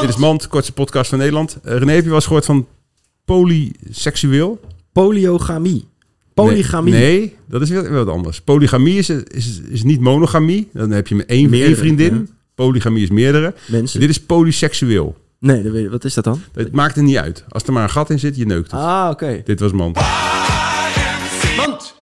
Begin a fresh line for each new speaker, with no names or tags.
Dit is Mand, kortste podcast van Nederland. Eh, René, heb je wel eens gehoord van polyseksueel?
Polyogamie. Polygamie.
Nee, nee, dat is heel- wat anders. Polygamie is, is, is niet monogamie. Dan heb je één,
Meerdere,
één vriendin.
ja.
Polygamie is meerdere.
Mensen.
Dit is polyseksueel.
Nee, dat weet- wat is dat dan?
Het maakt er niet uit. Als er maar een gat in zit, je neukt het.
Ah, oké.
Dit was Mand.